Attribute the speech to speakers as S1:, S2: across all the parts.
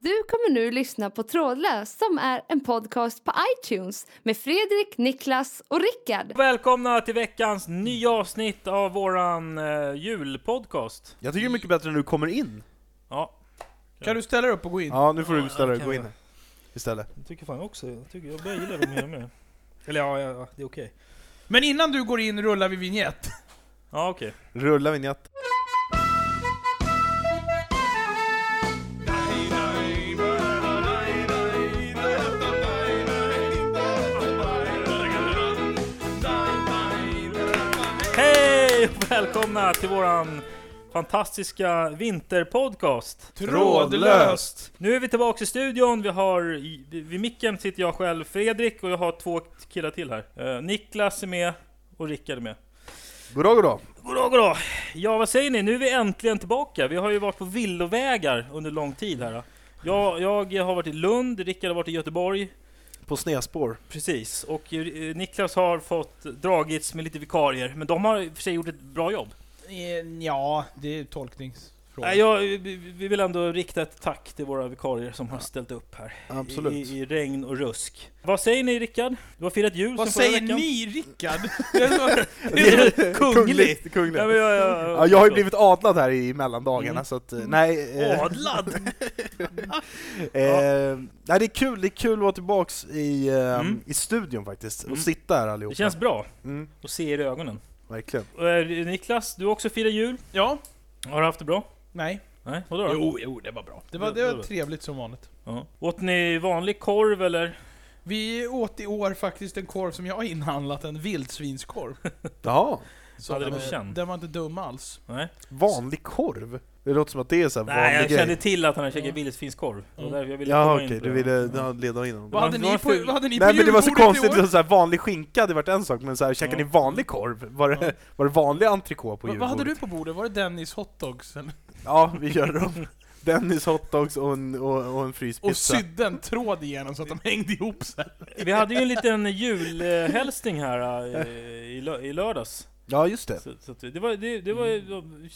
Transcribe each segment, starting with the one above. S1: Du kommer nu lyssna på Trådlös som är en podcast på iTunes med Fredrik, Niklas och Rickard.
S2: Välkomna till veckans nya avsnitt av våran eh, julpodcast.
S3: Jag tycker det är mycket bättre när du kommer in.
S2: Ja,
S4: Kan du ställa dig upp och gå in?
S3: Ja, nu får du ställa dig
S2: kan
S3: gå
S2: jag
S3: in istället.
S2: jag tycker fan också, jag, tycker, jag börjar gilla det mer och mer. Eller ja, ja, ja det är okej.
S4: Men innan du går in rullar vi vignett.
S2: Ja, okej.
S3: Rulla vignett.
S2: Hej och välkomna till våran fantastiska vinterpodcast.
S3: Trådlöst.
S2: Nu är vi tillbaka i studion, vi har, i- vid vid micken sitter jag själv, Fredrik, och jag har två killar till här. Eh, Niklas är med, och Rickard är med.
S3: Goddag, goddag.
S2: Goddag, goddag! Ja, vad säger ni? Nu är vi äntligen tillbaka. Vi har ju varit på villovägar under lång tid här. då. Jag, jag har varit i Lund, Rickard har varit i Göteborg.
S3: På snedspår.
S2: Precis. Och eh, Niklas har fått dragits med lite vikarier, men de har i och för sig gjort ett bra jobb.
S4: Eh, Ja, det är tolkningsfråga.
S2: Nej, jag, vi- vi vill ändå rikta ett tack till våra vikarier som har ställt upp här.
S3: Absolut.
S2: I, I regn och rusk. Vad säger ni Rickard? Du har firat jul
S4: Vad
S2: sen förra
S4: säger
S2: veckan.
S4: ni Rickard? Det är så-
S2: Det är så kungligt! Ja,
S3: kungligt.
S2: men jag,
S3: Ja, jag har ju blivit adlad här i mellandagarna,
S2: Mm.
S3: så att... eh, Nej, eh,
S2: adlad!
S3: eh, nej, det är kul, det är kul att vara tillbaks i, eh,
S2: Mm.
S3: i studion faktiskt, och
S2: Mm.
S3: sitta här
S2: Det
S3: allihopa.
S2: känns bra
S3: Mm,
S2: att se er i ögonen.
S3: verkligen.
S2: Eh, Niklas, du har också firat jul.
S4: ja.
S2: Har du haft det bra?
S4: Nej.
S2: Nej, vadå då?
S4: jo, det var bra. Det var, det var trevligt som vanligt.
S2: Ja. Åt ni vanlig korv eller?
S4: Vi åt i år faktiskt en korv som jag har inhandlat, en vildsvinskorv.
S3: Jaha,
S4: Så
S2: Hade
S4: den,
S2: du
S4: var-
S2: känt?
S4: den var inte dum alls.
S2: Nej.
S3: vanlig korv? Det låter som att det är så här
S2: Nej, jag
S3: vanlig grej.
S2: kände till att han hade käkat
S4: Ja.
S2: vildsvinskorv. Det var
S4: Mm.
S2: därför jag ville
S3: Ja
S2: komma
S3: okej,
S2: in på
S3: du
S2: det. Mm.
S3: ville
S2: Ja.
S3: ja. leda in honom.
S2: var-
S4: Vad hade,
S2: det var
S4: ni på,
S2: ful.
S4: vad hade ni
S3: Nej
S4: på
S3: men det var så
S4: julbordet i
S3: konstigt,
S4: år?
S3: så här, vanlig skinka hade varit en sak, men så här,
S2: Ja.
S3: käkar ni vanlig korv? Var det, var det vanlig entrecote på
S4: Vad- Vad hade
S3: julbordet?
S4: du på bordet? Var det Dennis hotdogs? eller?
S3: Ja, vi gör dem. Dennis hotdogs och en, och, och en
S4: Och
S3: fryspizza.
S4: sydde en tråd igenom så att de hängde ihop sig.
S2: Vi hade ju en liten julhälsning här eh, i, lö- i lördags.
S3: ja, Mm. just det.
S2: Så, så att det, var, det, det, var,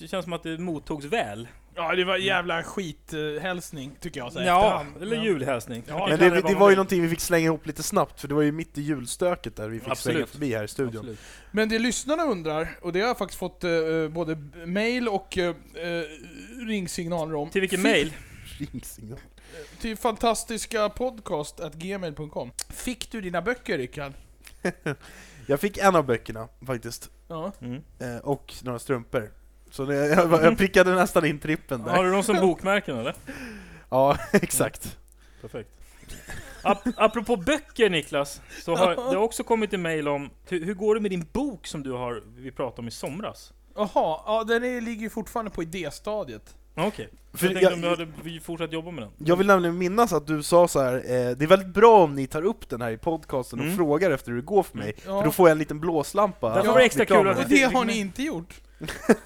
S2: det känns som att det mottogs väl.
S4: Ja, det var en jävla skithälsning, tycker
S3: Alltså,
S4: jag så här
S2: Ja,
S4: efterhand.
S2: eller
S4: Ja.
S2: julhälsning.
S4: Ja,
S2: Man kan
S3: Men
S2: kalla
S3: det, det
S2: vad man
S3: var ju
S2: vill.
S3: någonting vi fick slänga ihop lite snabbt, för det var ju mitt i julstöket där vi fick slänga
S2: Absolut.
S3: förbi här i studion.
S2: Absolut.
S4: Men det lyssnarna undrar, och det har jag faktiskt fått eh, både b- mail och eh, eh, ringsignaler om.
S2: Till vilken
S4: Fick-
S2: mail?
S3: Ringsignal.
S4: Till fantastiskapodcast.gmail.com. Fick du dina böcker, Rickard?
S3: Jag fick en av böckerna faktiskt,
S4: Ja.
S2: Mm.
S3: eh, och några strumpor. Så det, jag, var- jag prickade nästan in trippen
S2: Har
S3: där.
S2: du dem som bokmärken eller?
S3: Ja, exakt.
S2: Perfekt. Ap apropå böcker Niklas, så har det har också kommit en mail om hur hur går det med din bok som du har, vi pratade om i somras?
S4: Jaha, ja, den är, ligger ju fortfarande på idéstadiet.
S2: Ja, Okej,
S3: För
S2: jag tänkte om du
S3: jag,
S2: hade vi fortsatt jobba med den?
S3: jag vill nämligen minnas att du sa så här. Eh, det är väldigt bra om ni tar upp den här i podcasten och
S2: Mm.
S3: frågar efter hur det går för mig,
S4: Ja.
S3: för då får jag en liten blåslampa.
S2: Därför
S4: var det
S2: extra
S3: reklam
S2: kul
S3: här.
S4: Och
S2: att-
S4: det har ni inte gjort?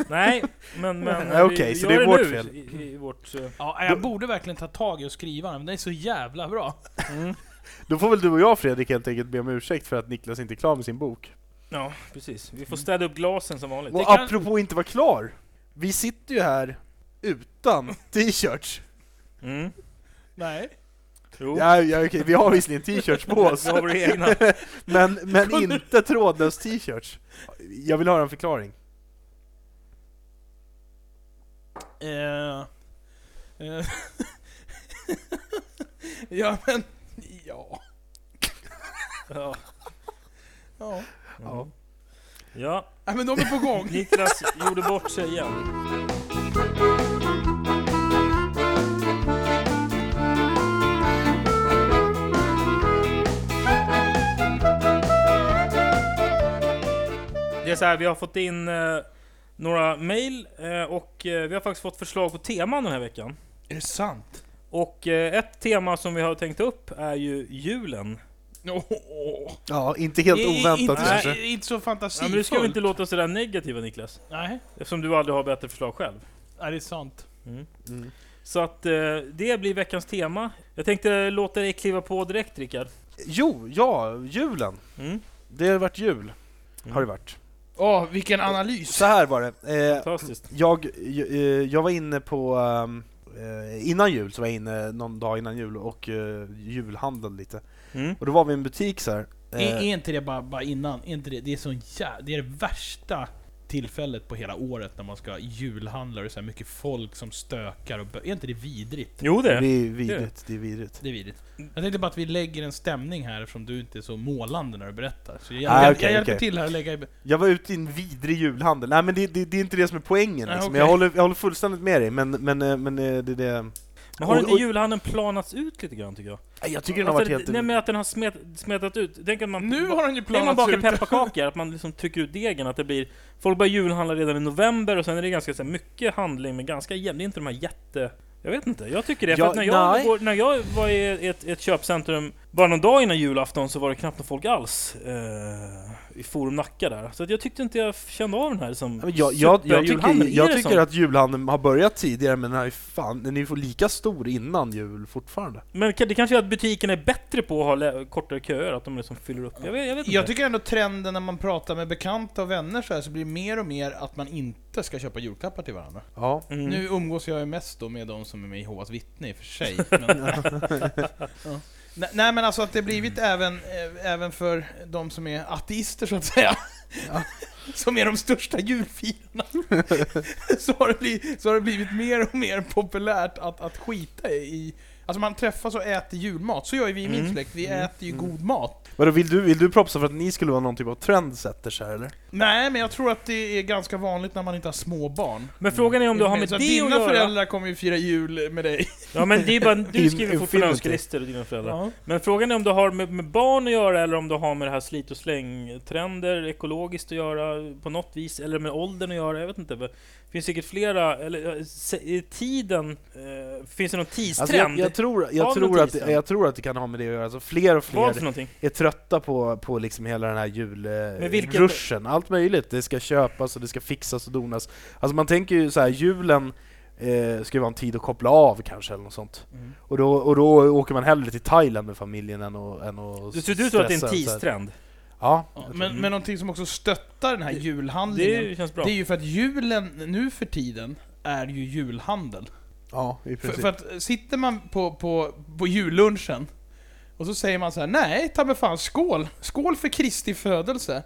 S2: Nej, men... men
S3: Nej, okej,
S2: vi
S3: så
S2: gör
S3: det är vårt
S2: nu
S3: fel.
S2: I, i vårt, eh,
S4: Ja, jag borde verkligen ta tag i och skriva den, men den är så jävla bra.
S2: mm.
S3: Då får väl du och jag Fredrik helt enkelt be om ursäkt för att Niklas inte är klar med sin bok.
S2: ja, precis. Vi får städa upp glasen som vanligt.
S3: Och
S4: kan-
S3: apropå inte vara klar, vi sitter ju här utan t-shirts.
S2: Mm.
S4: Nej.
S2: Jo,
S3: Ja, ja, okej, vi har visserligen t-shirts på oss,
S2: så har Oh. vi det egna.
S3: men, men inte trådlös t-shirts. Jag vill höra en förklaring.
S4: Eh, eh, ja, men... Ja.
S2: Ja.
S4: ja.
S3: Ja.
S2: ja,
S4: Nej, men de är på gång.
S2: Niklas gjorde bort sig igen. Det är så här, vi har fått in eh, några mejl eh, och eh, vi har faktiskt fått förslag på teman den här veckan.
S4: Är det sant?
S2: Och eh, ett tema som vi har tänkt upp är ju julen.
S3: Ja, inte helt
S4: I- i-
S3: oväntat
S4: inte,
S3: kanske.
S4: i- Inte så
S2: Ja, men du
S4: fantasifullt.
S2: ska väl inte låta sådär negativa Niklas?
S4: Nej,
S2: Eftersom du aldrig har bättre förslag själv.
S4: är det är sant.
S3: Mm.
S2: Så att eh, det blir veckans tema. Jag tänkte låta dig kliva på direkt Rickard.
S3: Jo, ja, julen.
S2: Mm.
S3: Det har varit jul.
S2: Mm.
S3: Har det varit.
S4: Åh, vilken analys!
S3: Så här var det. Eh,
S2: Fantastiskt.
S3: jag, jag, eh, jag var inne på ehm, eh, innan jul, så var jag inne någon dag innan jul och eh, julhandlade lite.
S2: Mm.
S3: Och då var vi i en butik så här. eh,
S4: Är, är inte det bara, bara innan? Är inte det, det, är sån jä, det är det värsta tillfället på hela året när man ska julhandla och det är så här mycket folk som stökar och bö- Är inte det vidrigt?
S2: Jo
S3: det
S2: det.
S3: är vidrigt, det är vidrigt.
S4: Det är vidrigt. Jag tänkte bara att vi lägger en stämning här eftersom du inte är så målande när du berättar. Så jag,
S3: Ah,
S4: jag,
S3: okej,
S4: jag hjälper
S3: okej.
S4: till här och lägga i...
S3: Jag var ute i en vidrig julhandel. Nej men det, det, det är inte det som är poängen.
S4: Nej,
S3: Liksom.
S4: okej.
S3: Jag, håller, jag håller fullständigt med dig, men, men, eh, men eh, det, det...
S2: Men har
S3: Och-
S2: inte
S3: och-
S2: julhandeln planats ut lite grann tycker jag?
S3: Nej, Jag tycker den har varit
S2: Alltså,
S3: helt...
S2: Nej men att den har smet, smetat ut. Tänk att man...
S4: Nu har han ju
S2: Tänk om man
S4: planats
S2: bakar
S4: ut.
S2: pepparkakor, att man liksom trycker ut degen, att det blir... Folk börjar julhandla redan i november och sen är det ganska så här, mycket handling, men ganska jämnt. Det är inte de här jätte... Jag vet inte, jag tycker det. För
S3: Ja,
S2: att när, jag
S3: nej.
S2: går, när jag var i ett, ett köpcentrum bara någon dag innan julafton så var det knappt någon folk alls eh, i Forum Nacka där. Så att jag tyckte inte jag kände av den här som
S3: Ja, men Jag, jag, jag tycker,
S2: superjulhandeln. Är
S3: jag
S2: det
S3: tycker
S2: sån?
S3: att julhandeln har börjat tidigare, men den är, fan, den är ju lika stor innan jul fortfarande.
S2: Men det kanske är att butikerna är bättre på att ha lä- kortare köer, att de liksom fyller upp. Jag vet, jag vet inte.
S4: Jag tycker ändå trenden när man pratar med bekanta och vänner så här så blir det mer och mer att man inte ska köpa julklappar till varandra.
S3: Ja.
S2: Mm.
S4: Nu umgås jag ju mest då med de som är med i Jehovas vittne i och för sig. Men, ja. Nej, Nej men alltså att det blivit även, eh, även för de som är ateister så att säga.
S3: Ja.
S4: Som är de största julfirarna. så, har det blivit, så har det blivit mer och mer populärt att, att skita i... Alltså man träffas och äter julmat, så gör ju vi i min
S2: Mm.
S4: släkt. Vi
S3: Mm.
S4: äter ju
S3: Mm.
S4: god mat.
S3: Vadå, vill du, vill du propsa för att ni skulle vara någon typ av trendsetters här eller?
S4: Nej, men jag tror att det är ganska vanligt när man inte har små barn.
S2: Men frågan är om du har med
S4: så
S2: det
S4: att
S2: att
S4: dina
S2: göra?
S4: föräldrar kommer ju fira jul med dig.
S2: Ja men det är bara, du
S3: In-
S2: skriver fortfarande
S3: infinity.
S2: önskelistor och dina föräldrar. Men frågan är om det har med, med barn att göra eller om det har med det här slit och släng-trender, ekologiskt att göra på något vis, eller med åldern att göra, jag vet inte. Det finns säkert flera, eller eh, se- i tiden, eh, finns det någon tidstrend?
S3: Alltså, jag, jag, tror, jag,
S2: Av
S3: tror att,
S2: notisen.
S3: jag tror att det kan ha med det att göra, alltså, fler och
S2: Vad för
S3: fler
S2: någonting?
S3: är trötta på, på liksom hela den här
S2: Men vilket-
S3: julruschen, allt möjligt, det ska köpas och det ska fixas och donas. Alltså man tänker ju så här, julen eh, ska ju vara en tid att koppla av kanske eller något sånt. Och då, och då åker man hellre till Thailand med familjen än att, än att
S2: Du, så du tror att det är en
S3: stressa, så här.
S2: tidstrend?
S3: Ja,
S4: Ja, men, men någonting som också stöttar den här
S2: Det-
S4: julhandlingen, det är,
S2: Det känns bra.
S4: ju för att julen nu för tiden är ju julhandel.
S3: ja i
S4: För,
S3: princip.
S4: för att eh, sitter man på, på, på jullunchen och så säger man så här: nej ta mig fan skål! Skål för Kristi födelse!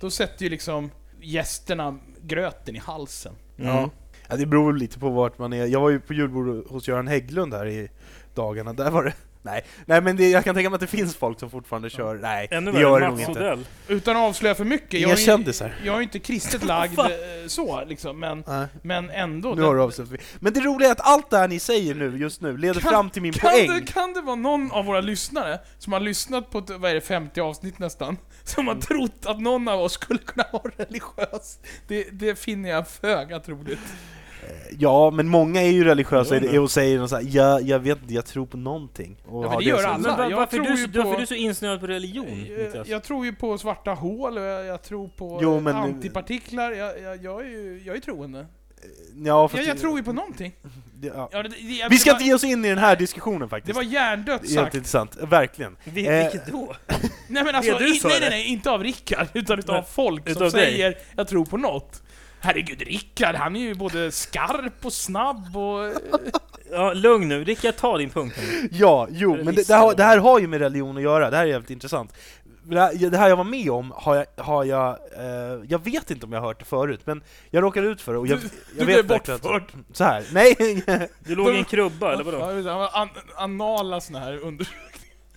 S4: Då sätter ju liksom gästerna gröten i halsen.
S3: Ja. Mm. Ja, det beror väl lite på vart man är. Jag var ju på julbord hos Göran Hägglund här i dagarna, där var det... Nej, nej men det, jag kan tänka mig att det finns folk som fortfarande kör, nej
S2: Ännu
S3: det gör
S2: värre,
S3: det nog
S2: Mats
S3: inte.
S2: Odell.
S4: Utan att avslöja för mycket, jag
S3: Inga
S4: är ju-
S3: kändisar.
S4: Jag är inte kristet lagd eh, så, liksom, men,
S3: Nej,
S4: men ändå.
S3: nu har du avslöjat mig. Men det roliga är att allt det här ni säger nu, just nu, leder
S4: Kan-
S3: fram till min
S4: kan,
S3: poäng.
S4: det, kan det vara någon av våra lyssnare som har lyssnat på, ett- vad är det, 50 avsnitt nästan, som har trott att någon av oss skulle kunna vara religiös? Det, det finner jag föga troligt.
S3: Ja, men många är ju religiösa
S2: Jo, men-
S3: i- och säger något så här, ja, jag vet inte, jag tror på någonting. Och
S4: men
S3: har
S4: det gör
S3: som-
S4: alla.
S2: Men var,
S4: jag
S2: varför, är
S4: tror
S2: du,
S4: ju
S2: så- varför
S4: på-
S2: är du så insnöad på religion,
S4: Jag,
S2: Niklas?
S4: jag tror ju på svarta hål, och jag, jag tror på
S3: Jo,
S4: eh,
S3: men-
S4: antipartiklar, jag, jag, jag, är ju, jag är troende.
S3: Ja, fast
S4: Jag, jag
S3: det-
S4: tror ju på någonting.
S3: det- ja.
S4: Ja, det, det,
S3: Vi ska inte
S4: det, var,
S3: ge oss in i den här diskussionen
S4: det
S3: faktiskt.
S4: var hjärndött
S3: Helt
S4: sagt.
S3: intressant, verkligen.
S2: Vi,
S3: Eh,
S2: vilket då?
S4: Nej men alltså,
S2: Det du
S4: i,
S2: sa,
S4: nej,
S2: eller?
S4: nej nej, inte av Rickard, utan utav
S2: Nej,
S4: folk som
S2: utav dig.
S4: säger 'Jag tror på något' Herregud, Rickard han är ju både skarp och snabb och... eh,
S2: Ja, lugn nu, Rickard ta din punkt nu.
S3: Ja, jo,
S2: Eller
S3: men det,
S2: vissa
S3: det, har,
S2: då.
S3: det här har ju med religion att göra, det här är jävligt intressant. Det här, det här jag var med om har jag, har jag eh, jag vet inte om jag har hört det förut, men jag råkade ut för det och jag, jag
S4: du blev
S3: vet verkligen att-
S4: bortförd!
S3: Så här. nej,
S2: Du låg i en krubba, eller vadå?
S4: Ja, jag vet, han var an, anala såna här under...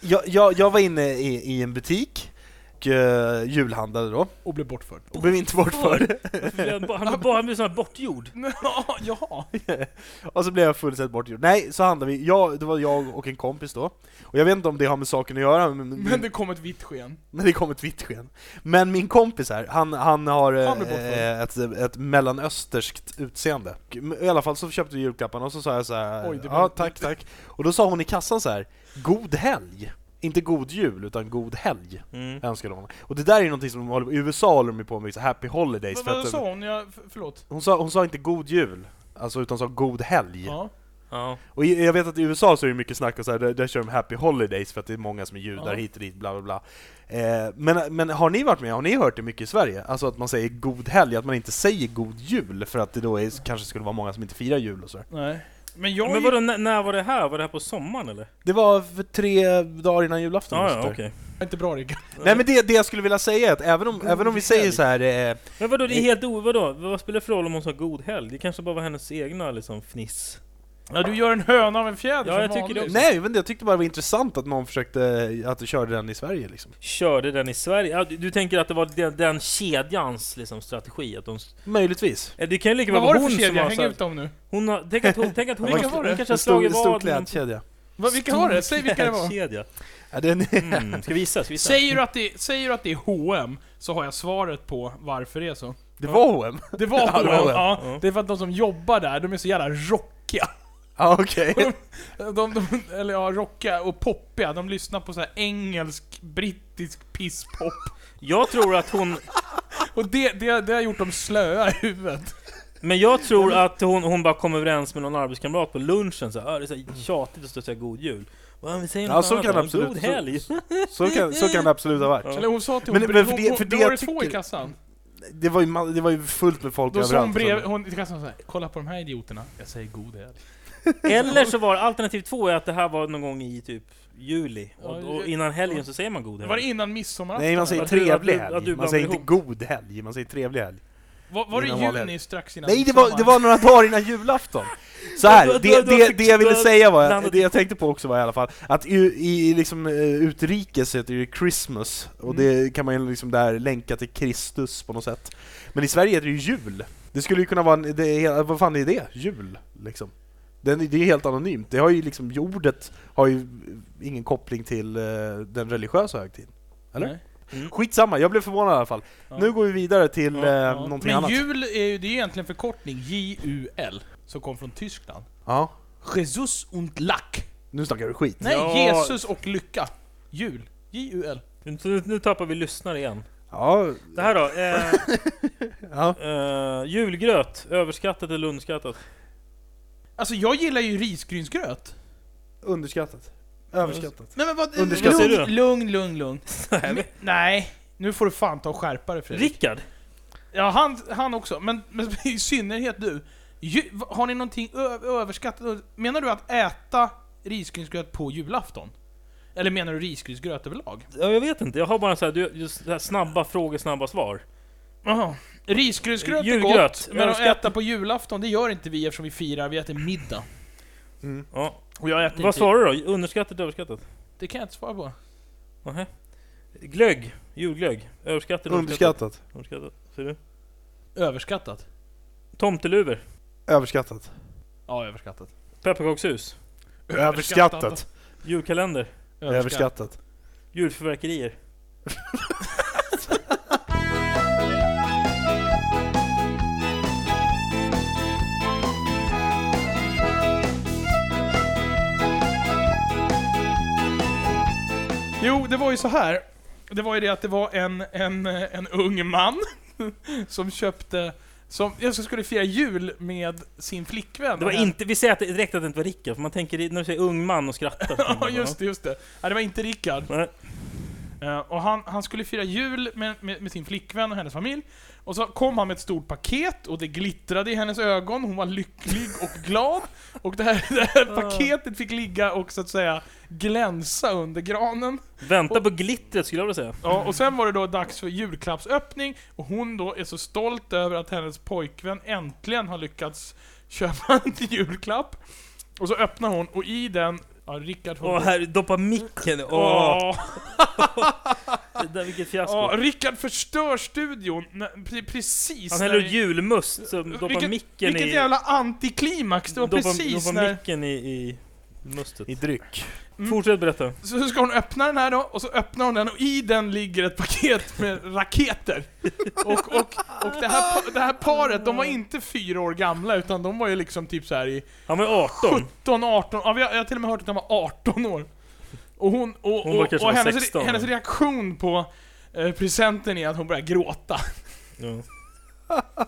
S3: jag, jag, jag var inne i, i en butik, och, eh, julhandlade då,
S4: Och blev bortförd.
S3: och blev inte bortförd.
S2: Han blev bara- han blev sån här bortgjord.
S4: Ja, jaha.
S3: och så blev jag fullständigt bortgjord. Nej, så handlade vi, jag, det var jag och en kompis då, och jag vet inte om det har med saken att göra, men,
S4: Men det kom ett vitt sken.
S3: Men det kom ett vitt sken. Men min kompis här, han, han har eh,
S4: Han blev bortförd.
S3: ett, ett mellanösterskt utseende. I alla fall så köpte vi julklapparna och så sa jag så här,
S4: Oj, det var-
S3: ja tack tack. Och då sa hon i kassan så här, god helg. Inte god jul, utan god helg
S2: Mm.
S3: önskade hon. Och det där är ju någonting som de håller på, i USA håller de ju på med så happy holidays.
S4: Vad,
S3: För
S4: vad
S3: att,
S4: sa hon? Jag, f- förlåt.
S3: hon, sa, hon sa inte god jul, alltså utan sa god helg.
S4: Ja.
S2: Ja.
S3: Och i- jag vet att i USA så är det mycket snack om så här, där, där kör de happy holidays för att det är många som är judar
S4: Ja.
S3: hit och dit, bla bla bla. Eh, men, men har ni varit med, har ni hört det mycket i Sverige? Alltså att man säger god helg, att man inte säger god jul för att det då är, kanske skulle vara många som inte firar jul och så. här.
S4: Nej. Men jag...
S2: Men vadå, när, när var det här? Var det här på sommaren eller?
S3: Det var för tre dagar innan julafton.
S2: Ah,
S3: just
S2: ja,
S3: det.
S2: okej.
S4: är inte bra Rickard.
S3: Nej men det, det jag skulle vilja säga är att även om, även om vi säger
S2: helg.
S3: så här, eh,
S2: Men vadå, det är helt o... Vadå? Vad spelar det för roll om hon sa god helg? Det kanske bara var hennes egna liksom fniss.
S4: Ja, du gör en höna av en fjäder
S2: Ja,
S4: som
S2: jag tycker det
S4: vanligt.
S3: nej jag vet inte, jag tyckte bara det var intressant att någon försökte, eh, att du körde den i Sverige liksom.
S2: Körde den i Sverige? Ja, du, du tänker att det var den, den kedjans liksom, strategi? Att de, s-
S3: Möjligtvis.
S2: Eh, det kan ju lika väl
S4: Vad var
S2: vara
S4: det för
S2: hon som
S4: kedja?
S2: har...
S4: Häng
S2: så här-
S4: ut dem nu.
S2: Hon har, tänk att hon, tänk att hon,
S4: Vilka
S2: hon
S4: var det?
S2: kanske har
S3: En stor,
S2: slagit
S3: stor
S2: vad med en
S3: klädkedja.
S4: Va, vilka var det? Säg vilka det var.
S2: Kedja.
S3: Ja, den,
S2: Mm. Ska visa? Ska visa?
S4: Säger du, att det, säger du att det är H&M så har jag svaret på varför det är så.
S3: det var H&M.
S4: Det var
S3: Ja, det var
S4: H&M.
S3: det.
S4: Ja,
S2: Ja.
S4: det är för att de som jobbar där, de är så jävla rockiga.
S3: Ja okej.
S4: De, de, eller ja, rockiga och poppiga. De lyssnar på så här engelsk, brittisk pisspop.
S2: Jag tror att hon...
S4: Och det, det, det har gjort dem slöa i huvudet.
S2: Men jag tror att hon, hon bara kom överens med någon arbetskamrat på lunchen så här, "Ah, det är så här tjatigt att stå och säga god jul. Va, vi säger
S3: Ja,
S2: något
S3: så
S2: annat
S3: kan
S2: då.
S3: det absolut-
S2: God
S3: så-
S2: helg!
S3: Så kan, så kan det absolut ha varit.
S4: Eller hon sa till
S3: Men-
S4: hon,
S3: men för
S4: hon,
S3: det-
S4: hon,
S3: för
S4: då
S3: det
S4: var det
S3: jag
S4: två i
S3: tycker-
S4: kassan.
S3: Det var ju, ma- det var ju fullt med folk
S4: Då sa hon
S3: överallt. liksom.
S4: bredvid, hon i kassan såhär, kolla på de här idioterna. Jag säger god helg.
S2: Eller så var alternativ två är att det här var någon gång i typ juli. Och,
S4: Ja,
S2: och
S4: det-
S2: innan helgen så säger man god
S4: Var det
S2: helg.
S4: innan midsommarafton?
S3: Nej man säger
S2: Att du- att du-
S3: trevlig
S2: att
S3: helg.
S2: du
S3: Man säger
S2: blandar
S3: inte god helg, man säger trevlig helg.
S4: Var, var det
S3: Innan
S4: juni
S3: valhelg.
S4: strax innan
S3: Nej det var, det var några dagar innan julafton! Så här,
S2: Då- då- då
S3: det, det,
S2: fick-
S3: det jag ville
S2: då
S3: säga var,
S2: blandade-
S3: det jag tänkte på också var i alla fall, att i, i liksom eh, utrikes heter det ju Christmas, och
S4: Mm.
S3: det kan man ju liksom där länka till Kristus på något sätt. Men i Sverige heter det ju jul! Det skulle ju kunna vara en, det, är- vad fan är det? Jul, liksom. Den, det är helt anonymt, det har ju liksom, ordet har ju ingen koppling till eh, den religiösa högtiden. Eller?
S4: Nej.
S2: Mm.
S3: Skitsamma, jag blev förvånad i alla fall.
S4: Ja.
S3: Nu går vi vidare till
S2: Ja,
S3: eh,
S2: ja.
S3: någonting
S4: Men
S3: annat.
S4: jul är ju, det är egentligen förkortning, J-U-L, som kom från Tyskland.
S3: Ja,
S4: Jesus und Lack.
S3: nu snackar du skit.
S4: Nej,
S2: Ja.
S4: Jesus och lycka. Jul. J-U-L.
S2: Nu, nu tappar vi lyssnare igen.
S3: Ja,
S2: Det här då. Eh,
S3: ja.
S2: eh, julgröt, överskattat eller underskattat?
S4: Alltså jag gillar ju risgrynsgröt.
S3: Underskattat. Överskattat.
S4: Nej men vad...
S3: Underskattar
S2: du det?
S4: lugn, lugn, lugn, lugn. Men- Nej, nu får du fan ta och skärpa dig Fredrik.
S2: Rickard?
S4: Ja, han, han också. Men, men i synnerhet du. Ju, va- har ni någonting ö- överskattat? Menar du att äta risgrynsgröt på julafton? Eller menar du risgrynsgröt överlag?
S2: Ja, jag vet inte, jag har bara så här, du, just så här snabba frågor, snabba svar.
S4: Jaha. Risgrynsgröt är
S2: Julgröt.
S4: gott, men att
S2: Överskattat.
S4: äta på julafton, det gör inte vi eftersom vi firar, vi äter middag.
S2: Ja.
S4: Och jag äter
S2: Vad
S4: inte...
S2: svarar du då? Underskattat, överskattat?
S4: Det kan jag inte svara på.
S2: Nähä. Glögg, julglögg. Överskattat, underskattat?
S3: Underskattat.
S2: Underskattat. Ser du?
S4: Överskattat.
S2: Tomteluvor,
S3: Överskattat.
S4: Ja, överskattat.
S2: pepparkakshus,
S3: Överskattat.
S2: julkalender,
S3: Överskattat.
S2: julförverkerier.
S4: Jo, det var ju så här. Det var ju det att det var en, en, eh, en ung man som köpte... Som jag skulle fira jul med sin flickvän.
S2: Det var inte, vi säger att det, direkt att det inte var Rickard, för man tänker i- när du säger ung man och skrattar. så tänker
S4: Ja,
S2: man,
S4: just det, just det. Nej, det var inte Rickard.
S2: Nej.
S4: Eh, och han, han skulle fira jul med, med, med sin flickvän och hennes familj. Och så kom han med ett stort paket och det glittrade i hennes ögon. Hon var lycklig och glad. Och det här, det här paketet fick ligga och så att säga glänsa under granen.
S2: Vänta på glittret skulle jag vilja säga.
S4: Ja, och sen var det då dags för julklappsöppning och hon då är så stolt över att hennes pojkvän äntligen har lyckats köpa en julklapp. Och så öppnar hon och i den... Ja, Rickard får...
S2: Åh, här doppa micken. Åh,
S4: Åh.
S2: det där, vilket fiasko.
S4: Ja, Rickard förstör studion när, pre- precis
S2: Han
S4: när...
S2: häller ut julmust, så doppar
S4: Vilket-
S2: micken
S4: vilket
S2: i...
S4: jävla antiklimax! Det var
S2: doppar-
S4: precis
S2: doppar
S4: när...
S2: micken i, i mustet.
S3: I dryck.
S4: Mm.
S2: Fortsätt berätta.
S4: Så ska hon öppna den här då, och så öppnar hon den och i den ligger ett paket med raketer. Och, och, och det, här, pa- det här paret, de var inte fyra år gamla utan de var ju liksom typ så här i
S2: Han var 18.
S4: 17, 18, ja, vi har- jag har till och med hört att de var 18 år. Och hon, och,
S2: Hon var
S4: och,
S2: kanske
S4: och
S2: var
S4: hennes,
S2: 16.
S4: hennes reaktion på eh, presenten är att hon börjar gråta.
S2: Ja.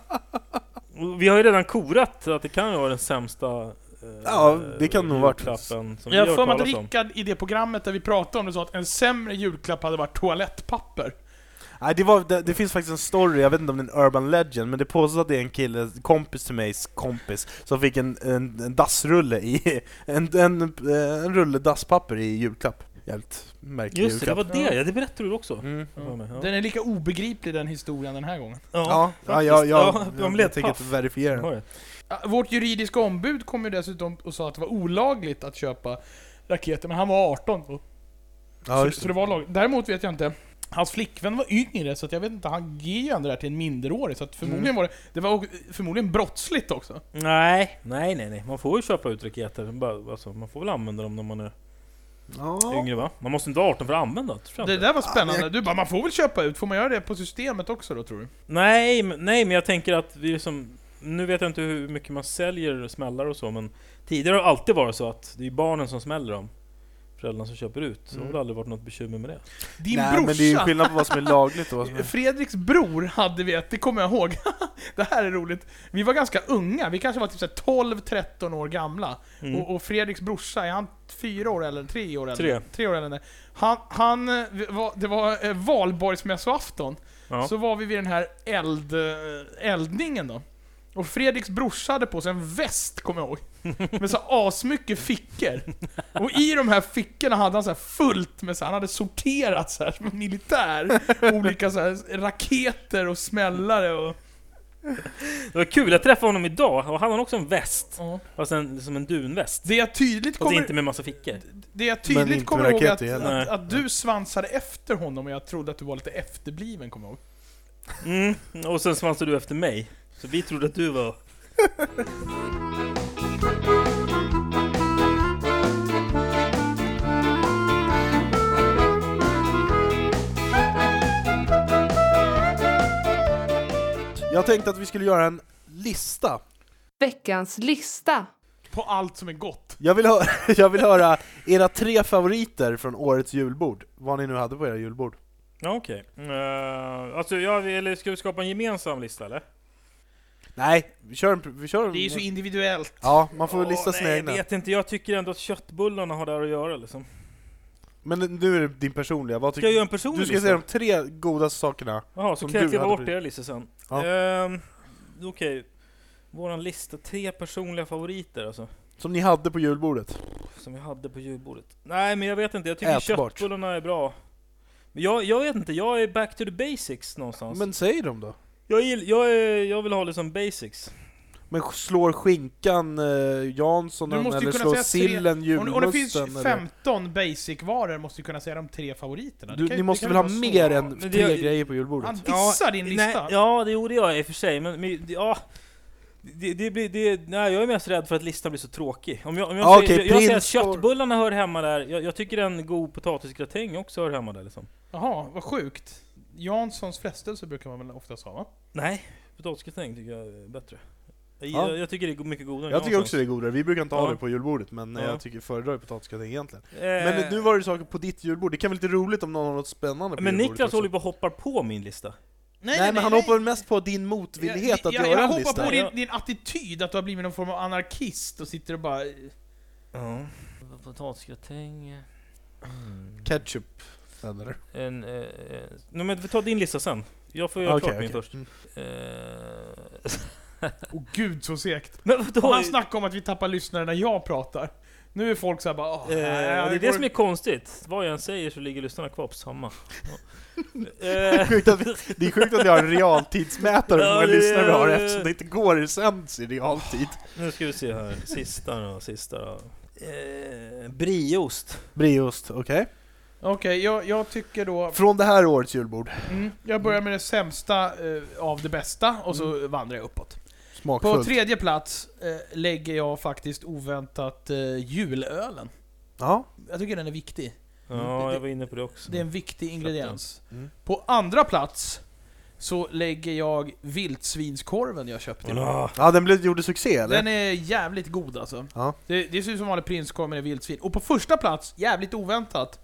S2: Och Vi har ju redan korat att det kan ju vara den sämsta eh,
S3: Ja, det kan nog varit.
S2: julklappen som vi
S4: Jag har
S2: har
S4: för mig att
S2: talat om.
S4: Rickard i det programmet där vi pratade om det sa att en sämre julklapp hade varit toalettpapper.
S3: Nej, det, var, det, det finns faktiskt en story, jag vet inte om det är en urban legend, men det påstås att det är en kille, kompis till mig, kompis, som fick en, en, en dassrulle i, en, en, eh, en rulle dasspapper i julklapp. Jävligt märklig
S2: Just det, det
S3: julklapp.
S2: var det. Ja, det berättade du också.
S3: Mm.
S2: Ja.
S4: Den är lika obegriplig den historien den här gången.
S3: Ja, ja, ja, ja,
S2: faktiskt.
S3: jag,
S2: de
S3: jag
S2: lät
S3: tänker inte
S2: paff.
S3: verifiera
S2: Har
S3: det.
S2: det.
S4: Ja, Vårt juridiska ombud kom ju dessutom och sa att det var olagligt att köpa raketer, men han var 18 då.
S3: Ja,
S4: så,
S3: just
S4: så det var lagligt. Däremot vet jag inte. Hans flickvän var yngre, så att jag vet inte, han ger ju ändå det här till en minderårig, så att förmodligen
S3: Mm.
S4: var det... Det var o- förmodligen brottsligt också.
S2: Nej, nej, nej, nej. Man får ju köpa ut raketer. Men bara- Alltså, man får väl använda dem när man är
S3: Ja.
S2: yngre va? Man måste inte vara 18 för att använda det. tror jag
S4: Det
S2: inte.
S4: där var spännande. Du bara, man får väl köpa ut? Får man göra det på systemet också då, tror du?
S2: Nej, men, nej, men jag tänker att vi liksom... Nu vet jag inte hur mycket man säljer smällar och så, men tidigare har det alltid varit så att det är barnen som smäller dem. Föräldrarna som köper ut. Så
S3: Mm.
S2: har det aldrig varit något bekymmer med det.
S4: Din
S3: Nej,
S4: brorsa!
S3: men det är ju skillnad på vad som är lagligt och vad som är...
S4: Fredriks bror hade vi ett, det kommer jag ihåg. det här är roligt. Vi var ganska unga, vi kanske var typ så här 12-13 år gamla.
S2: Mm.
S4: Och, och Fredriks brorsa, är han fyra år eller tre år äldre?
S2: Tre.
S4: tre år äldre. Han, han eh, var, det var eh, valborgsmässoafton.
S2: Ja.
S4: Så var vi vid den här eld, eh, eldningen då. Och Fredriks brorsa hade på sig en väst, kommer jag ihåg. Med så här asmycket fickor. Och i de här fickorna hade han så här fullt med så här, han hade sorterat så här som en militär. Olika så här raketer och smällare och...
S2: Det var kul, jag träffade honom idag och han har också en väst.
S4: ja.
S2: Fast en, som en dunväst.
S4: Det jag tydligt
S2: Fast
S4: kommer...
S2: inte med massa fickor.
S4: Det jag
S3: Men inte
S4: tydligt kommer
S3: med
S4: ihåg är att,
S3: raketer heller.
S4: att, att du svansade efter honom och jag trodde att du var lite efterbliven, kommer jag ihåg.
S2: Mm. Och sen svansade du efter mig. Så vi trodde att du var...
S3: Jag tänkte att vi skulle göra en lista.
S1: Veckans lista.
S4: På allt som är gott.
S3: Jag vill, höra, jag vill höra era tre favoriter från årets julbord. Vad ni nu hade på era julbord.
S2: Ja, okej. Eh, alltså, jag, eller ska vi skapa en gemensam lista eller?
S3: Nej, vi kör en... Vi kör en
S4: Det är ju så individuellt.
S3: ja, man får väl
S2: Åh,
S3: lista sina
S2: nej,
S3: egna.
S2: Jag vet inte, jag tycker ändå att köttbullarna har där att göra liksom.
S3: Men nu är det din personliga. Vad
S2: Ska jag
S3: tycker
S2: göra en personlig
S3: du ska
S2: lista?
S3: säga de tre godaste sakerna.
S2: Jaha, så
S3: Som
S2: kan jag
S3: du
S2: klippa
S3: hade
S2: bort
S3: på-
S2: era listor sen.
S3: Ja.
S2: Ehm, Okej. Våran lista, tre personliga favoriter alltså.
S3: Som ni hade på julbordet.
S2: Som vi hade på julbordet. Nej men jag vet inte, jag tycker
S3: Ätbart.
S2: köttbullarna är bra. Men jag, jag vet inte, jag är back to the basics någonstans.
S3: Men säg dem då.
S2: Jag, gill, jag, är, jag vill ha liksom basics.
S3: Men slår skinkan eh,
S4: Du
S3: Janssonen
S4: måste ju
S3: eller
S4: kunna
S3: slår
S4: säga tre-
S3: sillen
S4: Om, om det finns
S3: julmusten? eller-
S4: 15 basic-varor måste du kunna säga de tre favoriterna. Det
S3: Du,
S4: kan-
S3: ni
S4: det
S3: måste
S4: kan
S3: väl
S4: ju
S3: ha
S4: vara så.
S3: mer än
S2: Men det-
S3: tre grejer på julbordet?
S4: Han dissar din lista.
S2: Nej, ja, det gjorde jag i och för sig, men, men ja... Det, det blir, det, nej, jag är mest rädd för att listan blir så tråkig. Om jag, om jag,
S3: Ja,
S2: säger,
S3: Ah,
S2: jag,
S3: okej,
S2: jag säger att
S3: prins får-
S2: köttbullarna hör hemma där, jag, jag tycker en god potatisgratäng också hör hemma där liksom.
S4: Jaha, vad sjukt. Janssons frestelse brukar man väl oftast ha va?
S2: Nej, potatisgratäng tycker jag är bättre. Jag,
S3: Ja.
S2: jag, jag tycker det är mycket godare än
S3: Jag tycker
S2: Janssons.
S3: också det är godare, vi brukar inte
S2: Ja.
S3: ha det på julbordet men eh,
S2: Ja.
S3: jag tycker föredrar ju potatisgratäng egentligen.
S2: Eh,
S3: Men nu var det saker på ditt julbord, det kan vara lite roligt om någon har något spännande på
S2: men
S3: julbordet
S2: Niklas
S3: också.
S2: håller ju på och hoppar på min lista.
S3: Nej, men han hoppar väl mest på din motvillighet att
S4: jag,
S3: göra
S4: jag
S3: en
S4: hoppar
S3: lista.
S4: på
S2: Ja.
S4: din, din attityd, att du har blivit någon form av anarkist och sitter och bara...
S2: Ja. Potatisgratäng...
S3: Ketchup. Eller?
S2: En, eh, eh, nej, men vi tar din lista sen. Jag får göra
S3: Okej,
S2: klart min
S3: okej.
S2: först.
S3: Mm.
S2: Eh,
S4: Åh gud så segt.
S2: men vadå?
S4: Och han snackar om att vi tappar lyssnare när jag pratar. Nu är folk såhär bara... åh,
S2: Eh,
S4: nej,
S2: det är
S4: går-
S2: det som är konstigt. Vad jag än säger så ligger lyssnarna kvar på samma. Ja. Eh,
S3: Sjukt att vi, det är sjukt att vi har en realtidsmätare på
S2: Ja,
S3: våra
S2: det-
S3: lyssnare vi har eftersom det inte går i sänds i realtid.
S2: nu ska vi se här. Sista då, sista då. Eh, brieost.
S3: Brieost, okej.
S4: Okej, jag, jag tycker då...
S3: Från det här årets julbord,
S4: Mm, jag börjar med det sämsta eh, av det bästa och så
S2: Mm.
S4: vandrar jag uppåt.
S3: smakfullt.
S4: På tredje plats eh, lägger jag faktiskt oväntat eh, julölen.
S3: Ja.
S4: Jag tycker den är viktig. Mm, Det-
S2: Ja,
S4: det-
S2: jag var inne på det också.
S4: Det är en viktig ingrediens.
S3: Mm.
S4: På andra plats så lägger jag vildsvinskorven jag köpte.
S2: Ah,
S3: ja, den blev, gjorde succé eller?
S4: Den är jävligt god alltså.
S3: Ja.
S4: Det, det ser ut som vanlig prinskorv men det är vildsvin. Och på första plats, jävligt oväntat,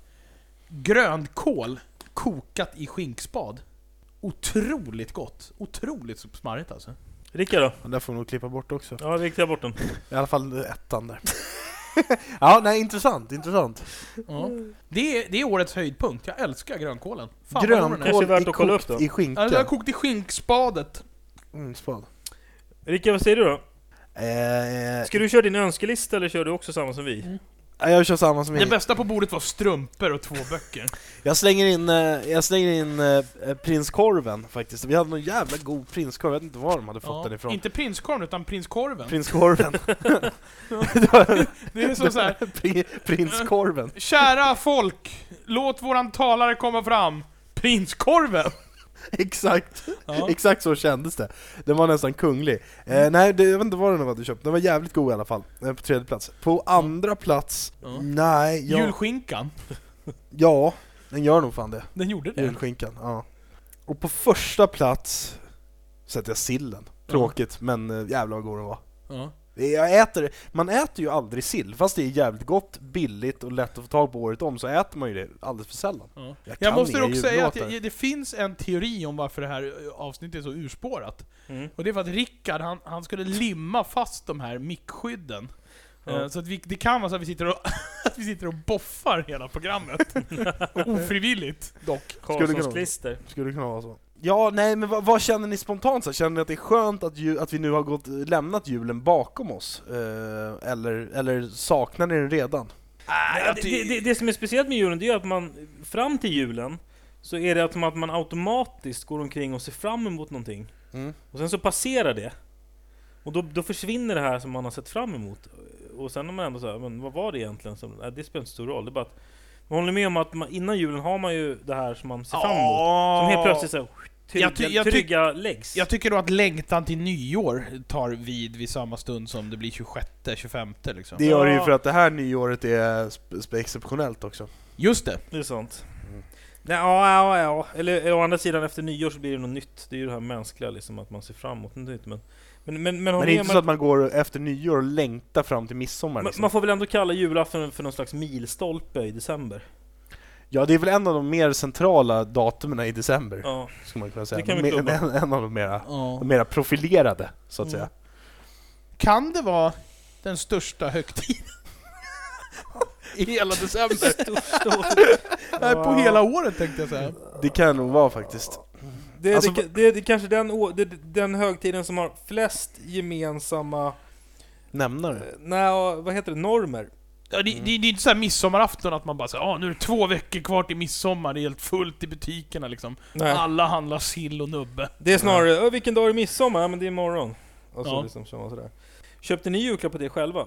S4: grönkål kokat i skinkspad. Otroligt gott. Otroligt smarrigt alltså.
S2: Rickard då?
S3: Den där får vi nog klippa bort också.
S2: Ja, vi klipper bort den.
S3: I alla fall ettan där. Ja, nej intressant, intressant.
S4: Ja. Det, är, det är årets höjdpunkt. Jag älskar grönkålen. Fan, vad god den är.
S2: Kanske
S3: Grönkål
S2: värt
S3: i,
S2: att kolla
S3: kokt
S2: upp då.
S3: i skinka.
S4: Ja, den har kokt i skinkspadet.
S3: Mm, spad.
S2: Ricka, vad säger du då?
S3: Eh,
S2: Ska du köra din önskelista eller kör du också samma som vi?
S3: ja, jag kör samma som
S4: Det
S3: er.
S4: bästa på bordet var strumpor och två böcker.
S3: Jag slänger in, eh, jag slänger in eh, eh, prinskorven faktiskt. Vi hade någon jävla god prinskorv, jag vet inte var de hade fått den
S4: Ja.
S3: ifrån.
S4: Inte prinskorven, utan prinskorven.
S3: Prinskorven.
S4: det är som så här.
S3: Pri- prinskorven.
S4: Kära folk, låt våran talare komma fram. Prinskorven!
S3: Exakt.
S4: Ja. Mm.
S3: Exakt så kändes det. Den var nästan kunglig. Eh, nej, det, jag vet inte vad den hade köpt. Den var jävligt god i alla fall. Eh, på tredje plats. På andra plats,
S4: Ja.
S3: nej, jag,
S4: Julskinkan,
S3: ja, den gör nog fan det.
S4: den gjorde det.
S3: Julskinkan, ja. Och på första plats sätter jag sillen. Tråkigt, men eh, jävlar vad god den var.
S4: Ja.
S3: Det- Jag äter, man äter ju aldrig sill, fast det är jävligt gott, billigt och lätt att få tag på året om, så äter man ju det alldeles för sällan.
S4: Ja.
S3: Jag
S4: Jag
S3: kan
S4: måste
S3: inga
S4: dock säga att
S3: jullåtar.
S4: jag, det finns en teori om varför det här eh, avsnittet är så urspårat.
S2: Mm.
S4: Och det är för att Rickard, han, han skulle limma fast de här mickskydden.
S2: Ja.
S4: Eh, Så att vi, det kan vara så att vi sitter och, att vi sitter och boffar hela programmet. Ofrivilligt.
S3: Dock, skulle kunna,
S2: Karlssons klister.
S3: skulle kunna vara så. Ja, nej men vad, vad känner ni spontant så? här? Känner ni att det är skönt att, ju, att vi nu har gått, lämnat julen bakom oss? Eh, eller, eller saknar ni den redan?
S2: Nej, Äh, det, det, det, det som är speciellt med julen, det är att man fram till julen så är det att man, att man automatiskt går omkring och ser fram emot någonting.
S3: Mm.
S2: Och sen så passerar det. Och då, då försvinner det här som man har sett fram emot. Och sen är man ändå så här, men vad var det egentligen? Som, nej, det spelar inte stor roll. Det är bara att man håller med om att man, innan julen har man ju det här som man ser fram emot. Som helt plötsligt så här, trygga,
S4: Jag ty- jag ty-
S2: trygga läggs.
S4: Jag tycker då att längtan till nyår tar vid vid samma stund som det blir 26, 25 liksom.
S3: Det gör det ju
S2: Ja.
S3: för att det här nyåret är sp- sp- exceptionellt också.
S4: Just det.
S2: Det är sant. Nej, ja, ja, ja. Eller, eller å andra sidan, efter nyår så blir det något nytt. Det är ju det här mänskliga, liksom, att man ser fram emot något nytt. Men, men, men, men,
S3: Men
S2: håll
S3: det
S2: med,
S3: är inte
S2: man,
S3: så att man går efter nyår och längtar fram till midsommar
S2: man,
S3: liksom.
S2: man får väl ändå kalla julafton för någon slags milstolpe i december.
S3: Mm. Ja, det är väl en av de mer centrala datumen i december.
S2: Ja.
S3: skulle man kunna säga.
S2: Det kan vi
S3: Men-
S2: klubba.
S3: en, en av de mera, de mera profilerade, så att
S2: Mm.
S3: säga.
S4: Kan det vara den största högtiden? I hela december? Nej, på hela året tänkte jag säga.
S3: Det kan det nog vara faktiskt.
S2: Det,
S3: Alltså,
S2: det, det, det är kanske den, å- det, den högtiden som har flest gemensamma,
S3: Nämnare.
S2: nej, vad heter det, normer.
S4: Ja, det, det, det är inte såhär midsommarafton att man bara säger ah, nu är det två veckor kvar till midsommar, det är helt fullt i butikerna liksom.
S2: Nej.
S4: Alla handlar sill och nubbe.
S2: Det är snarare, "Ö, vilken dag är det midsommar? Ja men det är imorgon. Och så
S4: Ja.
S2: liksom, kör man sådär. Köpte ni julklappar till er själva?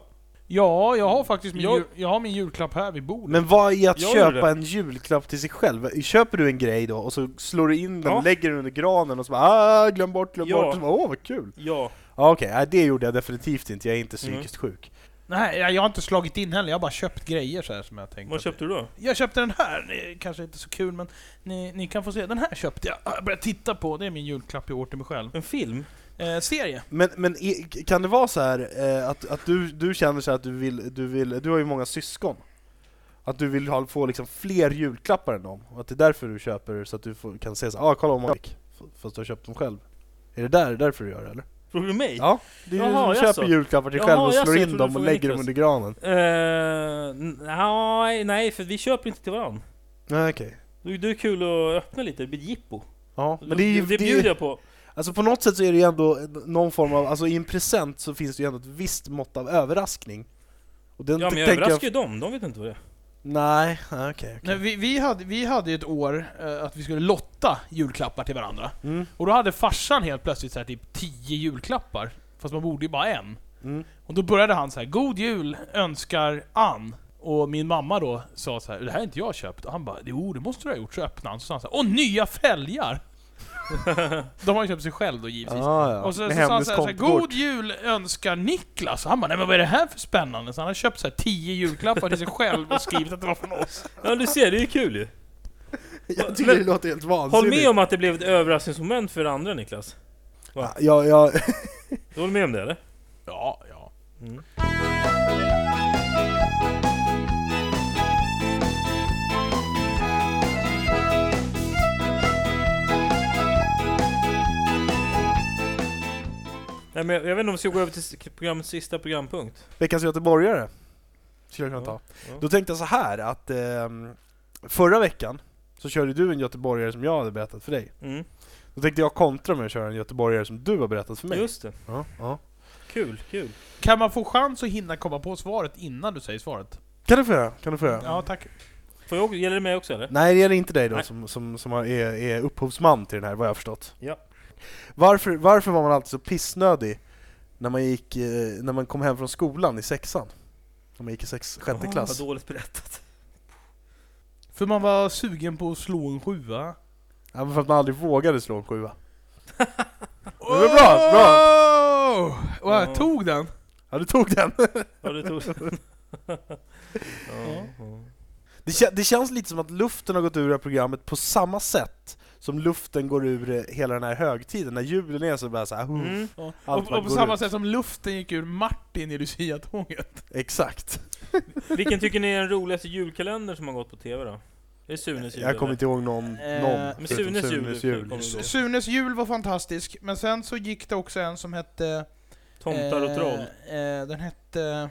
S4: Ja, jag har faktiskt min,
S2: Jag-
S4: jul, jag har min julklapp här vid bordet.
S3: Men vad är att
S2: Jag gjorde
S3: köpa
S2: det.
S3: en julklapp till sig själv? Köper du en grej då och så slår du in den,
S2: Ja.
S3: lägger den under granen och så bara ah, glöm bort, glöm
S2: Ja.
S3: bort. Och så bara, Åh vad kul!
S2: Ja.
S3: Ja, Okej, nej, det gjorde jag definitivt inte, jag är inte
S2: Mm.
S3: psykiskt sjuk.
S4: Nej, jag jag har inte slagit in heller, jag har bara köpt grejer så här som jag tänkte.
S2: Vad köpte du då?
S4: Jag köpte den här, det är kanske inte så kul men ni, ni kan få se. Den här köpte jag, Ah, jag börjar titta på, det är min julklapp i år till mig själv.
S2: En film?
S4: Eh, serie.
S3: Men, men i- kan det vara så här eh, att, att du, du känner så här att du vill, du vill, du har ju många syskon. Att du vill ha, få liksom fler julklappar än dem, och att det är därför du köper så att du får, kan säga så här, ah, kolla vad många jag fick, f- fast du har köpt dem själv. Är det där, därför du gör det eller?
S2: Frågar du mig?
S3: Ja, det är ju
S2: Jaha,
S3: du som
S2: jaså.
S3: köper julklappar till dig
S2: Jaha,
S3: själv och
S2: jaså,
S3: slår
S2: jag
S3: in
S2: trodde
S3: dem
S2: du
S3: och
S2: frågade
S3: lägger dem
S2: Niklas.
S3: under granen.
S2: Eh, nej, nej, för vi köper inte till varandra.
S3: Nej okej.
S2: Det det är kul att öppna lite, det blir ett jippo.
S3: Ja, men det är ju,
S2: det
S3: det
S2: bjuder
S3: är,
S2: jag på.
S3: alltså på något sätt så är det ju ändå någon form av, alltså i en present så finns det ju ändå ett visst mått av överraskning. Och den
S2: Ja, men jag
S3: tänker
S2: överraskar ju dem, de vet inte vad det är.
S3: Nej, nej, okej. okej.
S4: Nej, vi, vi, hade, vi hade ju ett år eh, att vi skulle lotta julklappar till varandra.
S3: Mm,
S4: Och då hade farsan helt plötsligt så här, typ 10 julklappar. Fast man borde ju bara en.
S3: mm.
S4: Och då började han så här: God Jul önskar Ann. Och min mamma då sa så här: Det här har inte jag köpt. Och han bara, jo det måste du ha gjort. Så öppnade han, så sa han så här, Åh nya fälgar! De har ju köpt sig själv då givetvis.
S3: Ah, ja.
S4: Och så,
S3: Med
S4: så sa han
S3: hennes
S4: så här, så här,
S3: kontokort.
S4: God Jul önskar Niklas. Och han bara, nej men vad är det här för spännande? Så han har köpt så här 10 julklappar till sig själv och skrivit att det var från oss.
S2: Ja du ser, det är ju kul ju.
S3: Jag tycker
S2: Men-
S3: det låter helt
S2: Håll
S3: vansinnigt.
S2: med om att det blev ett överraskningsmoment för andra Niklas.
S3: Ja, jag, jag,
S2: Du håller med om det eller?
S4: Ja, ja.
S2: Mm. Nej, men jag, jag vet inte om vi ska gå över till s- programmets sista programpunkt.
S3: veckans göteborgare. skulle jag kunna ta.
S2: Ja, ja.
S3: Då tänkte jag så här att ehm, förra veckan så körde du en göteborgare som jag hade berättat för dig.
S2: Mm.
S3: Då tänkte jag kontra med att köra en göteborgare som du har berättat för mig.
S2: Just det.
S3: Ja, ja.
S2: Kul, kul.
S4: Kan man få chans att hinna komma på svaret innan du säger svaret?
S3: Kan du få göra? Kan du få göra?
S4: Ja, tack.
S2: Får jag, också- gäller det mig också eller?
S3: Nej, det gäller inte dig då
S2: Nej.
S3: som, som, som har- är, är upphovsman till den här, vad jag har förstått.
S2: Ja.
S3: Varför, varför var man alltid så pissnödig när man, gick, eh, när man kom hem från skolan i sexan? När man gick i sex, sjätte
S2: Åh,
S3: klass.
S2: Vad dåligt berättat.
S4: För man var sugen på att slå en sjua.
S3: Ja, men för att man aldrig vågade slå en sjua. Det var bra, bra!
S4: Och jag tog den.
S3: Ja, du tog den!
S2: Ja, det tog... ja, ja.
S3: Det, kä- det känns lite som att luften har gått ur det här programmet på samma sätt som luften går ur eh, hela den här högtiden, när julen är så bara såhär...
S2: Mm.
S4: Ja.
S3: Allt
S4: Och,
S3: bara
S4: och på
S3: går
S4: samma
S3: ut.
S4: sätt som luften gick ur Martin i Lucia-tånget.
S3: Exakt.
S2: Vilken tycker ni är den roligaste julkalendern som har gått på TV då? Är det Sunes jul?
S3: Jag kommer
S2: eller?
S3: inte ihåg någon, någon
S4: Eh,
S2: men
S3: förutom
S2: Sunes jul- kommer
S4: S-
S2: ihåg.
S4: Sunes jul var fantastisk, men sen så gick det också en som hette...
S2: Tomtar och
S4: eh,
S2: troll.
S4: Eh, den hette...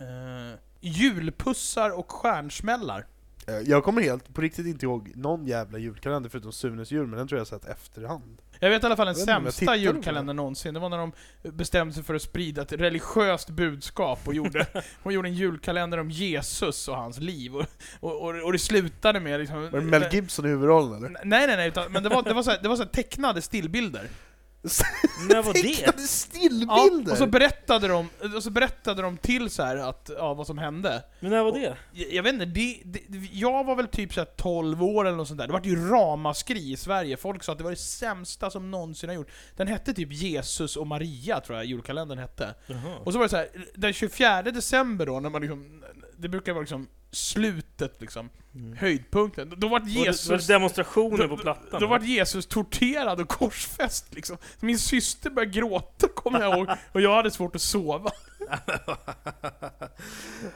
S4: Eh, julpussar och stjärnsmällar.
S3: Eh, Jag kommer helt på riktigt inte ihåg någon jävla julkalender förutom Sunes jul, men den tror jag har sett efterhand.
S4: Jag vet i alla fall den
S3: Jag vet inte om jag
S4: sämsta
S3: tittade på
S4: julkalendern någonsin. Det var när de bestämde sig för att sprida ett religiöst budskap och gjorde, och gjorde en julkalender om Jesus och hans liv. Och, och, och, och det slutade med liksom...
S3: Var det Mel
S2: eh,
S3: Gibson i huvudrollen eller?
S4: Nej, nej, nej. Utan, men det var, det var, så här, det var så här tecknade stillbilder.
S2: När var det?
S3: Tecknade
S4: Ja,
S3: stillbilder!
S4: och, så berättade de, och så berättade de till så här att, ja, vad som hände.
S2: Men när var det?
S4: Jag, jag vet inte, det, det, jag var väl typ så här 12 år eller något sånt där. Det var ju ramaskri i Sverige. Folk sa att det var det sämsta som någonsin har gjort. Den hette typ Jesus och Maria, tror jag julkalendern hette.
S2: Jaha.
S4: Och så var det så här, den 24 december då, när man liksom, det brukar vara liksom slutet liksom,
S2: Mm.
S4: höjdpunkten. Då, då var
S2: Och det- Det
S4: Jesus...
S2: var demonstrationer på
S4: Då,
S2: Plattan.
S4: då vart Jesus torterad och korsfäst liksom. Min syster började gråta kommer jag ihåg, och jag hade svårt att sova.
S2: Ja,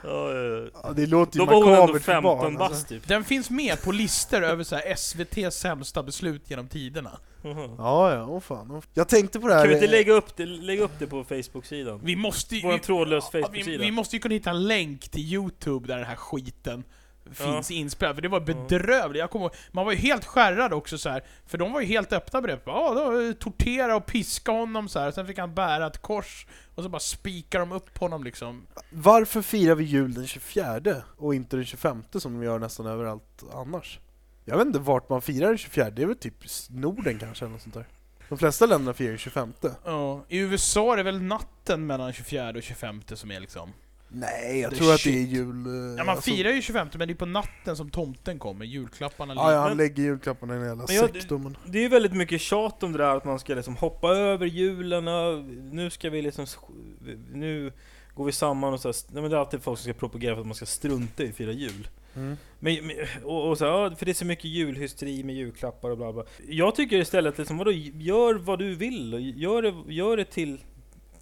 S2: ja, ja.
S3: Ja, det låter ju
S2: Då var hon ändå
S3: makabert för
S2: 15
S3: barn.
S2: bast
S3: Alltså.
S2: typ.
S4: Den finns med på listor över så här SVT's sämsta beslut genom tiderna.
S2: Jaha.
S3: Ja, ja, åh fan. åh. Jag tänkte på det här...
S2: Kan vi inte
S3: eh,
S2: lägga upp det, lägga upp det på Facebook-sidan?
S4: Vi måste ju...
S2: Vår trådlös
S4: Ja, vi, vi
S2: Facebook-sida.
S4: måste ju kunna hitta en länk till Youtube där den här skiten finns inspelad, för det var
S2: Ja.
S4: bedrövligt. Jag kommer ihåg, man var ju helt skärrad också så här, för de var ju helt öppna med det. Ja, då, eh, tortera och piska honom så här. sen fick han bära ett kors, och så bara spikar de upp honom liksom.
S3: Varför firar vi jul den 24 och inte den 25 som de gör nästan överallt annars? Jag vet inte vart man firar den 24, det är väl typ s- Norden kanske eller något sånt där. De flesta länderna firar ju 25.
S4: Ja, I USA är det väl natten mellan 24 och 25 som är liksom...
S3: Nej, jag
S4: The
S3: tror att det är
S4: shit.
S3: jul... eh,
S4: Ja, man
S3: alltså-
S4: firar ju 25 men det är på natten som tomten kommer, julklapparna
S3: Ja, ja,
S4: ligger.
S3: han
S2: Men-
S3: lägger julklapparna i den hela
S2: Men jag-
S3: sektorn.
S2: Det är ju väldigt mycket tjat om det där att man ska liksom hoppa över julen, ö- nu ska vi liksom... sk- Nu går vi samman och så här, nej, men Det är alltid folk som ska propagera för att man ska strunta i att fira jul.
S3: Mm.
S2: Men, men- och, och så här, ja, för det är så mycket julhysteri med julklappar och bla bla. Jag tycker istället liksom, vadå, gör vad du vill och gör det, gör det till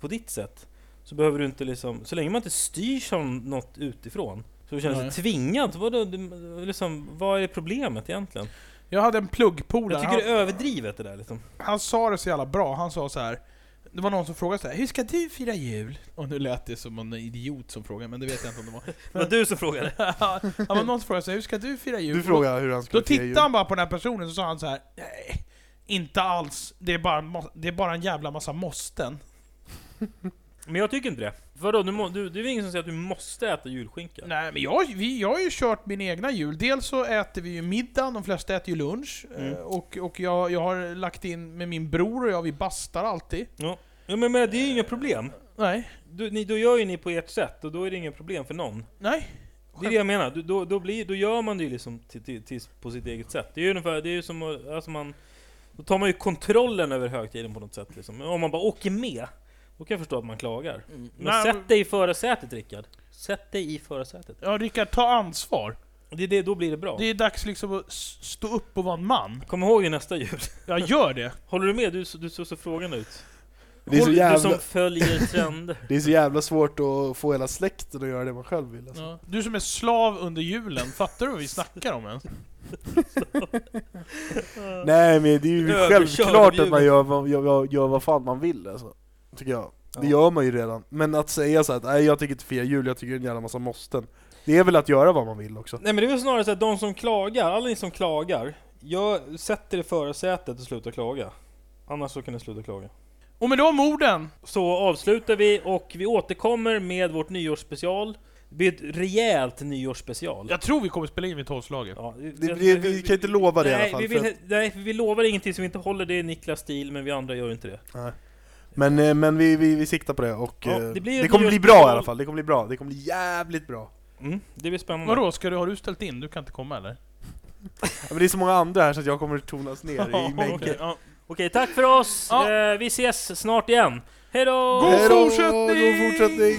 S2: på ditt sätt. Så behöver du inte liksom, så länge man inte styrs av något utifrån. Så du känner dig
S4: Nej.
S2: tvingad, vadå, du- liksom, vad är problemet egentligen?
S4: Jag hade en pluggpolare,
S2: Jag
S4: han,
S2: tycker det är överdrivet det där liksom.
S4: han sa det så jävla bra, han sa så här. Det var någon som frågade så här, hur ska du fira jul? Och nu lät det som en idiot som frågade, men det vet jag inte om det var.
S2: Det var du som frågade.
S4: det var någon som frågade så här, hur ska du fira jul?
S3: Du frågar hur han
S4: Då
S3: skulle fira jul.
S4: tittade han bara på den här personen och sa han så här. nej, inte alls, det är bara, en må- det är bara en jävla massa måsten.
S2: Men jag tycker inte det. Vadå, du må, du, det är väl ingen som säger att du måste äta julskinka?
S4: Nej, men jag, vi, jag har ju kört min egna jul. Dels så äter vi ju middag, de flesta äter ju lunch.
S2: Mm.
S4: eh, Och, och jag, jag har lagt in med min bror och jag, vi bastar alltid.
S2: Ja, men, men det är ju inga problem.
S4: Nej,
S2: Du, ni, då gör ju ni på ert sätt och då är det inga problem för någon.
S4: nej.
S2: Det är det jag menar, Du- då, då, blir, då gör man det ju liksom till, till, till, på sitt eget sätt. Det är ju ungefär, det är ju som att- alltså man... Då tar man ju kontrollen över högtiden på något sätt liksom. Men Om man bara åker med, då kan jag förstå att man klagar. Men
S4: Mm. Nej, men-
S2: sätt dig i förarsätet Rickard. Sätt dig i förarsätet.
S4: Ja, Rickard, ta ansvar.
S2: Det, är det, då blir det bra.
S4: Det är dags liksom att s- stå upp och vara en man.
S2: Kom ihåg det nästa jul.
S4: Jag gör det.
S2: Håller du med? Du, du såg så frågan ut.
S3: Det är så
S2: Håll- Du
S3: jävla-
S2: som följer trender.
S3: Det är så jävla svårt att få hela släkten att göra det man själv vill. Alltså.
S4: Ja. Du som är slav under julen, fattar du vad vi snackar om ens?
S3: Nej men det är ju
S2: Överkörd av Mm.
S3: självklart
S2: julen.
S3: att man gör, vad- gör, gör, gör vad fan man vill alltså. Tycker jag. Det gör man ju redan. Men att säga så här att nej jag tycker inte fira jul, jag tycker en jävla massa måsten. Det är väl att göra vad man vill också.
S2: Nej men det är väl snarare så att de som klagar, alla ni som klagar, jag sätter i förarsätet och slutar klaga. Annars så kan ni sluta klaga.
S4: Och med de orden,
S2: Så avslutar vi och vi återkommer med vårt nyårsspecial. Det blir ett rejält nyårsspecial.
S4: jag tror vi kommer spela in vid tolvslaget.
S2: Ja,
S3: Det, det, vi kan inte lova det i alla
S2: nej,
S3: fall.
S2: vi
S3: för
S2: vill, nej, vi lovar ingenting som vi inte håller, det är Niklas stil, men vi andra gör inte det.
S3: att- Men, eh, men vi, vi, vi siktar på det och
S2: Ja,
S3: eh,
S2: det
S3: det,
S2: blir ett
S3: kommer bli bra
S2: nyårsspecial.
S3: i alla fall. Det kommer bli bra. Det kommer bli jävligt bra.
S2: Mm, det blir spännande.
S4: Vadå, ska du, har du ställt in? Du kan inte komma eller?
S3: Ja, men det är så många andra här så att jag kommer tonas ner i
S2: Okej.
S3: mängden.
S4: Ja.
S2: Okej, tack för oss!
S4: Ja.
S2: Eh, vi ses snart igen! Hej då!
S4: God
S3: Hej då,
S4: fortsättning!
S3: God fortsättning!